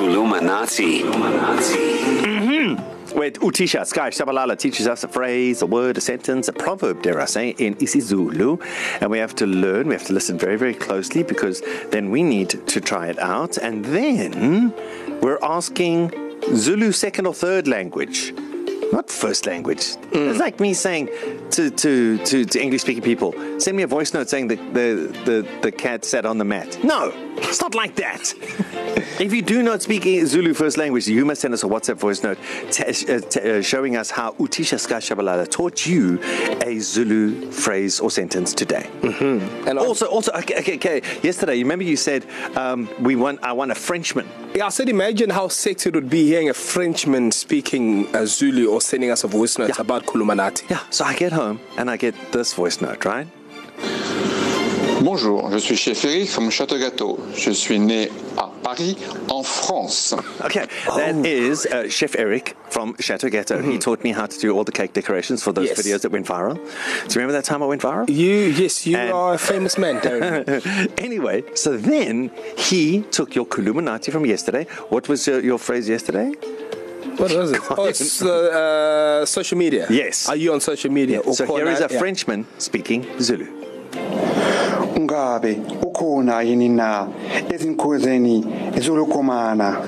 Illuminati. With Utisha Sky Shabalala teaches us a phrase, a word, a sentence, a proverb, dare I say, in isiZulu. And we have to learn, we have to listen very, very closely because then we need to try it out. And then we're asking Zulu second or third language. Not first language. Mm. It's like me saying to, to, to, to English speaking people, send me a voice note saying the, the, the, the cat sat on the mat. No, it's not like that. If you do not speak E- Zulu first language, you must send us a WhatsApp voice note t- uh, t- uh, showing us how Utisha Sky Shabalala taught you a Zulu phrase or sentence today. And also, Also, also, okay, okay, okay. Yesterday, remember you said um, we won. I won a Frenchman. I said, imagine how sexy it would be hearing a Frenchman speaking uh, Zulu or sending us a voice note Yeah. yeah. about Kulumanati. Yeah. So I get home and I get this voice note, right? Bonjour, je suis chez Ferry from Château Gâteau. Je suis né à Paris, en France. Okay, that is uh, Chef Eric from Chateau Ghetto. He taught me how to do all the cake decorations for those Yes. videos that went viral. Do you remember that time I went viral? You, yes, you And- and are a famous man, Darren. anyway, so then he took your Kuluminati from yesterday. What was your, your phrase yesterday? what was it? Oh, it's uh, uh, social media. Yes. Are you on social media? Or so here is a Kona- yeah. Frenchman speaking Zulu. ungabe ukhona yini na ezinkozeni ezulukumana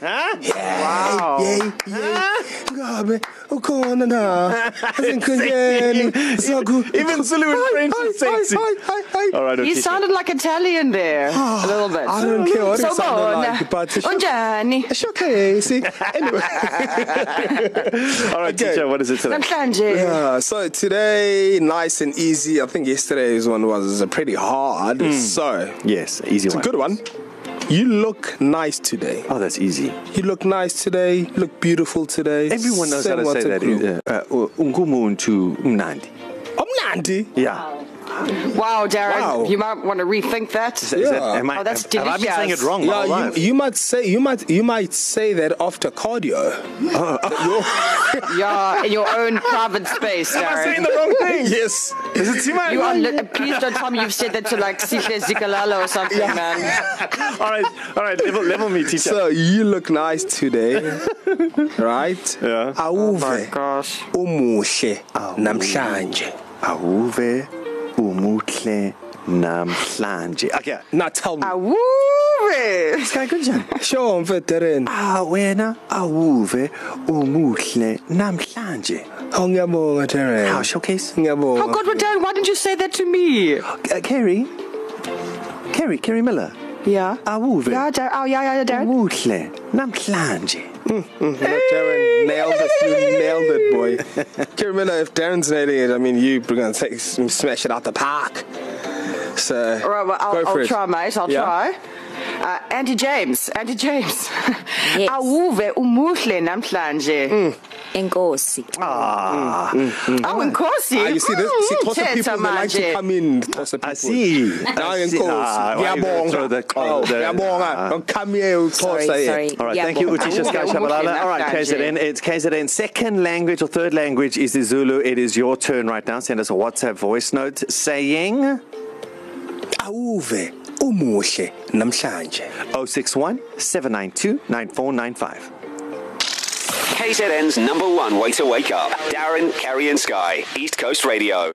Huh? Wow. Yay, yay. Oh. Ngabe, ukhona na. Ezinkundleni, zoku- Even Zulu and Hi, French hi, is sexy. hi, hi, hi. All right, You Otisha. sounded like Italian there, a little bit. I don't care what it so sounded bona. like, but it's- Unjani? It's okay, see? Anyway. All right, Okay. teacher, what is it today? Namhlanje. Yeah, so today, nice and easy. I think yesterday's one was pretty hard. Hmm. So, Yes, easy it's a one. good one. You look nice today. Oh, that's easy. You look nice today. You look beautiful today. Everyone knows Send how to say WhatsApp that. Uh, ungumuntu mnandi. group. I'm Nandi. Yeah. Wow, Darren, Wow. you might want to rethink that. Is that, is that, Yeah. am I, Oh, that's have, have I been delicious. saying it wrong my whole Yeah, life? you, you might say you might you might say that after cardio. You're in your own private space, Darren. wrong yes. Is it too much? You are li- please don't tell me you've said that to like Sihle Zikalala or something, yeah. man. all right, all right, level, level me, teacher. So you look nice today, right? Yeah. Oh Awuve Gosh. umuhle namhlanje. Awuve umuhle namhlanje. Okay. Now tell me. Awuri. Sky Gunjan. Show 'em for Darren. Ah, wena awuve umuhle namhlanje. Oh, ngiyabonga Darren. Our showcase. Ngiyabonga. Oh, God, well, Darren, why didn't you say that to me? Uh, Kerry. Kerry, Kerry Miller. Yeah. Awuve. Yeah, Darren. Oh, yeah, yeah, yeah, Darren. Umuhle namhlanje. No, Darren nailed it. You nailed it, boy. Kerry Miller, if Darren's nailing it, I mean, you we're gonna take, smash it out the park. So, All right, well, I'll, go for I'll it. try, mate. I'll Yeah. try. Uh, Auntie James, Auntie James. Yes. Awuve umuhle namhlanje. Mm. enkosi Ah, Oh, inkosi. Mm, Ah, you see, this, see, Tosa Thetha people, they like to manje. come in. Tosa people. I see. Now I in see. course. Ah, why you Ngiyabonga. throw the- Oh, the- ngiyabonga. ah. Don't come here, Tosa. sorry here. sorry All right, thank you, Utisha Utisha Sky Shabalala. Shabalala. All right, KZN, it's KZN. Second language or third language is Zulu. It is your turn right now. Send us a WhatsApp voice note saying Awuve umuhle namhlanje. 061 792 9495. KZN's number one way to wake up. Darren, Kerry, and Sky. East Coast Radio.